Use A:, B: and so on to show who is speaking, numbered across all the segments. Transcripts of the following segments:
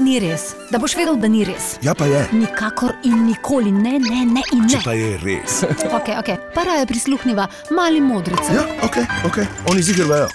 A: ni res, da boš vedel, da ni res.
B: Ja, pa je.
A: Nikakor in nikoli ne, ne, ne in
B: Če
A: ne.
B: pa je res.
A: Okay, okay. Para je prisluhnila mali modrici.
B: Ja, ok, ok, oni zigrajo.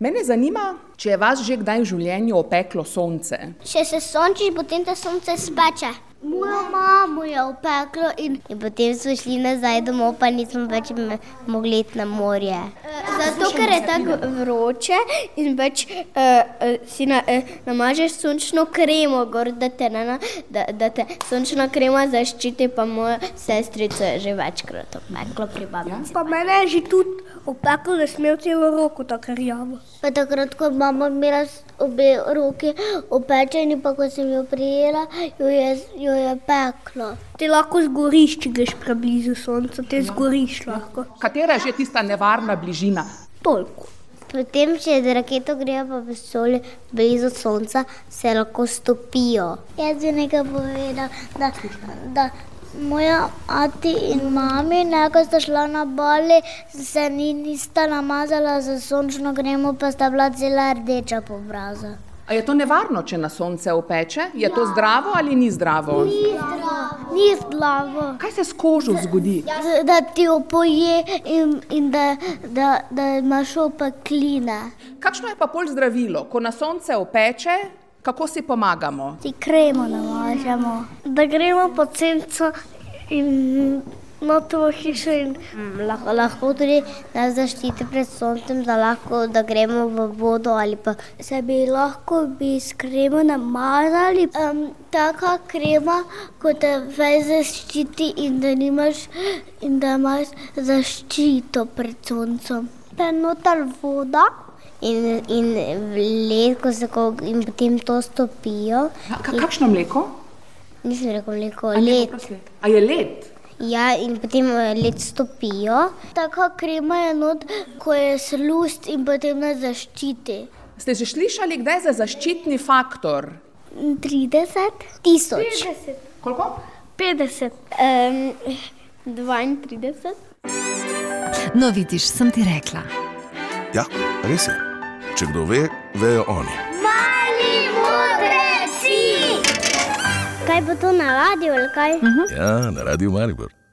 C: Mene zanima, če je vas že kdaj v življenju opeklo sonce.
D: Če se sončiš, potem ta sonce spača. Moja mama je opekla in, in potem smo šli nazaj domov, pa nismo več me- mogli iti na morje.
E: Eh, Zato, ker je tako vroče in več uh, uh, si na, uh, namažeš sončno kremo, gor, da, te ne, na- da, da te sončna krema zaščiti, pa moja sestrica je že večkrat opekla pri babici.
F: Pa mene je že tudi opeklo, da smel celo roko tako rjavo.
D: Pa takrat, ko je mama imela s- obe roki opečeni, pa ko sem jo prijela, jo je, jo je peklo.
F: Ti lahko zgoriš, če greš preblizu sonca, ti zgoriš lahko.
C: Katera je že tista nevarna bližina?
F: Toliko.
D: Potem, če z raketo grejo pa vesolje blizu Sonca, se lahko stopijo. Jaz bi nekaj povedal, da, da moja ati in mami, ne, ko sta šla na bali, se ni, nista namazala za sončno kremo, pa sta bila cela rdeča po obrazu.
C: A je to nevarno, če na sonce opeče? Je to zdravo ali ni zdravo?
D: Ni slabo.
C: Kaj se s kožo zgodi?
D: Da ti opoje in, in da, da, da imaš opekline.
C: Kakšno je pa pol zdravilo? Ko na sonce opeče, kako si pomagamo?
D: Ti kremo namažemo.
F: Da gremo po senco in na to hišo in
D: Lahko, lahko tudi nas zaščiti pred soncem, da lahko da gremo v vodo ali pa
F: se bi lahko bi s kremo namazali.
D: um, taka krema, kot te veš zaščiti in da, nimaš, in da imaš zaščito pred soncem. Pa notar voda. In, in led, ko se ko, in potem to stopijo,
C: Ja, ka- Kakšno mleko?
D: nisem rekel, neko
C: Ne,
D: led.
C: oprosti. A je led?
D: Ja, in potem eh, led stopijo. Taka krema je not, ko je slust in potem nas zaščiti.
C: Ste že slišali, kdaj za zaščitni faktor?
D: 30 tisoč.
C: Koliko?
F: 50. Um, 32.
A: No, vidiš, sem ti rekla.
B: Ja, res je. Če kdo ve, vejo oni.
D: Kaj bo to na radiju ali kaj?
B: Mhm. Ja, na radiju Maribor.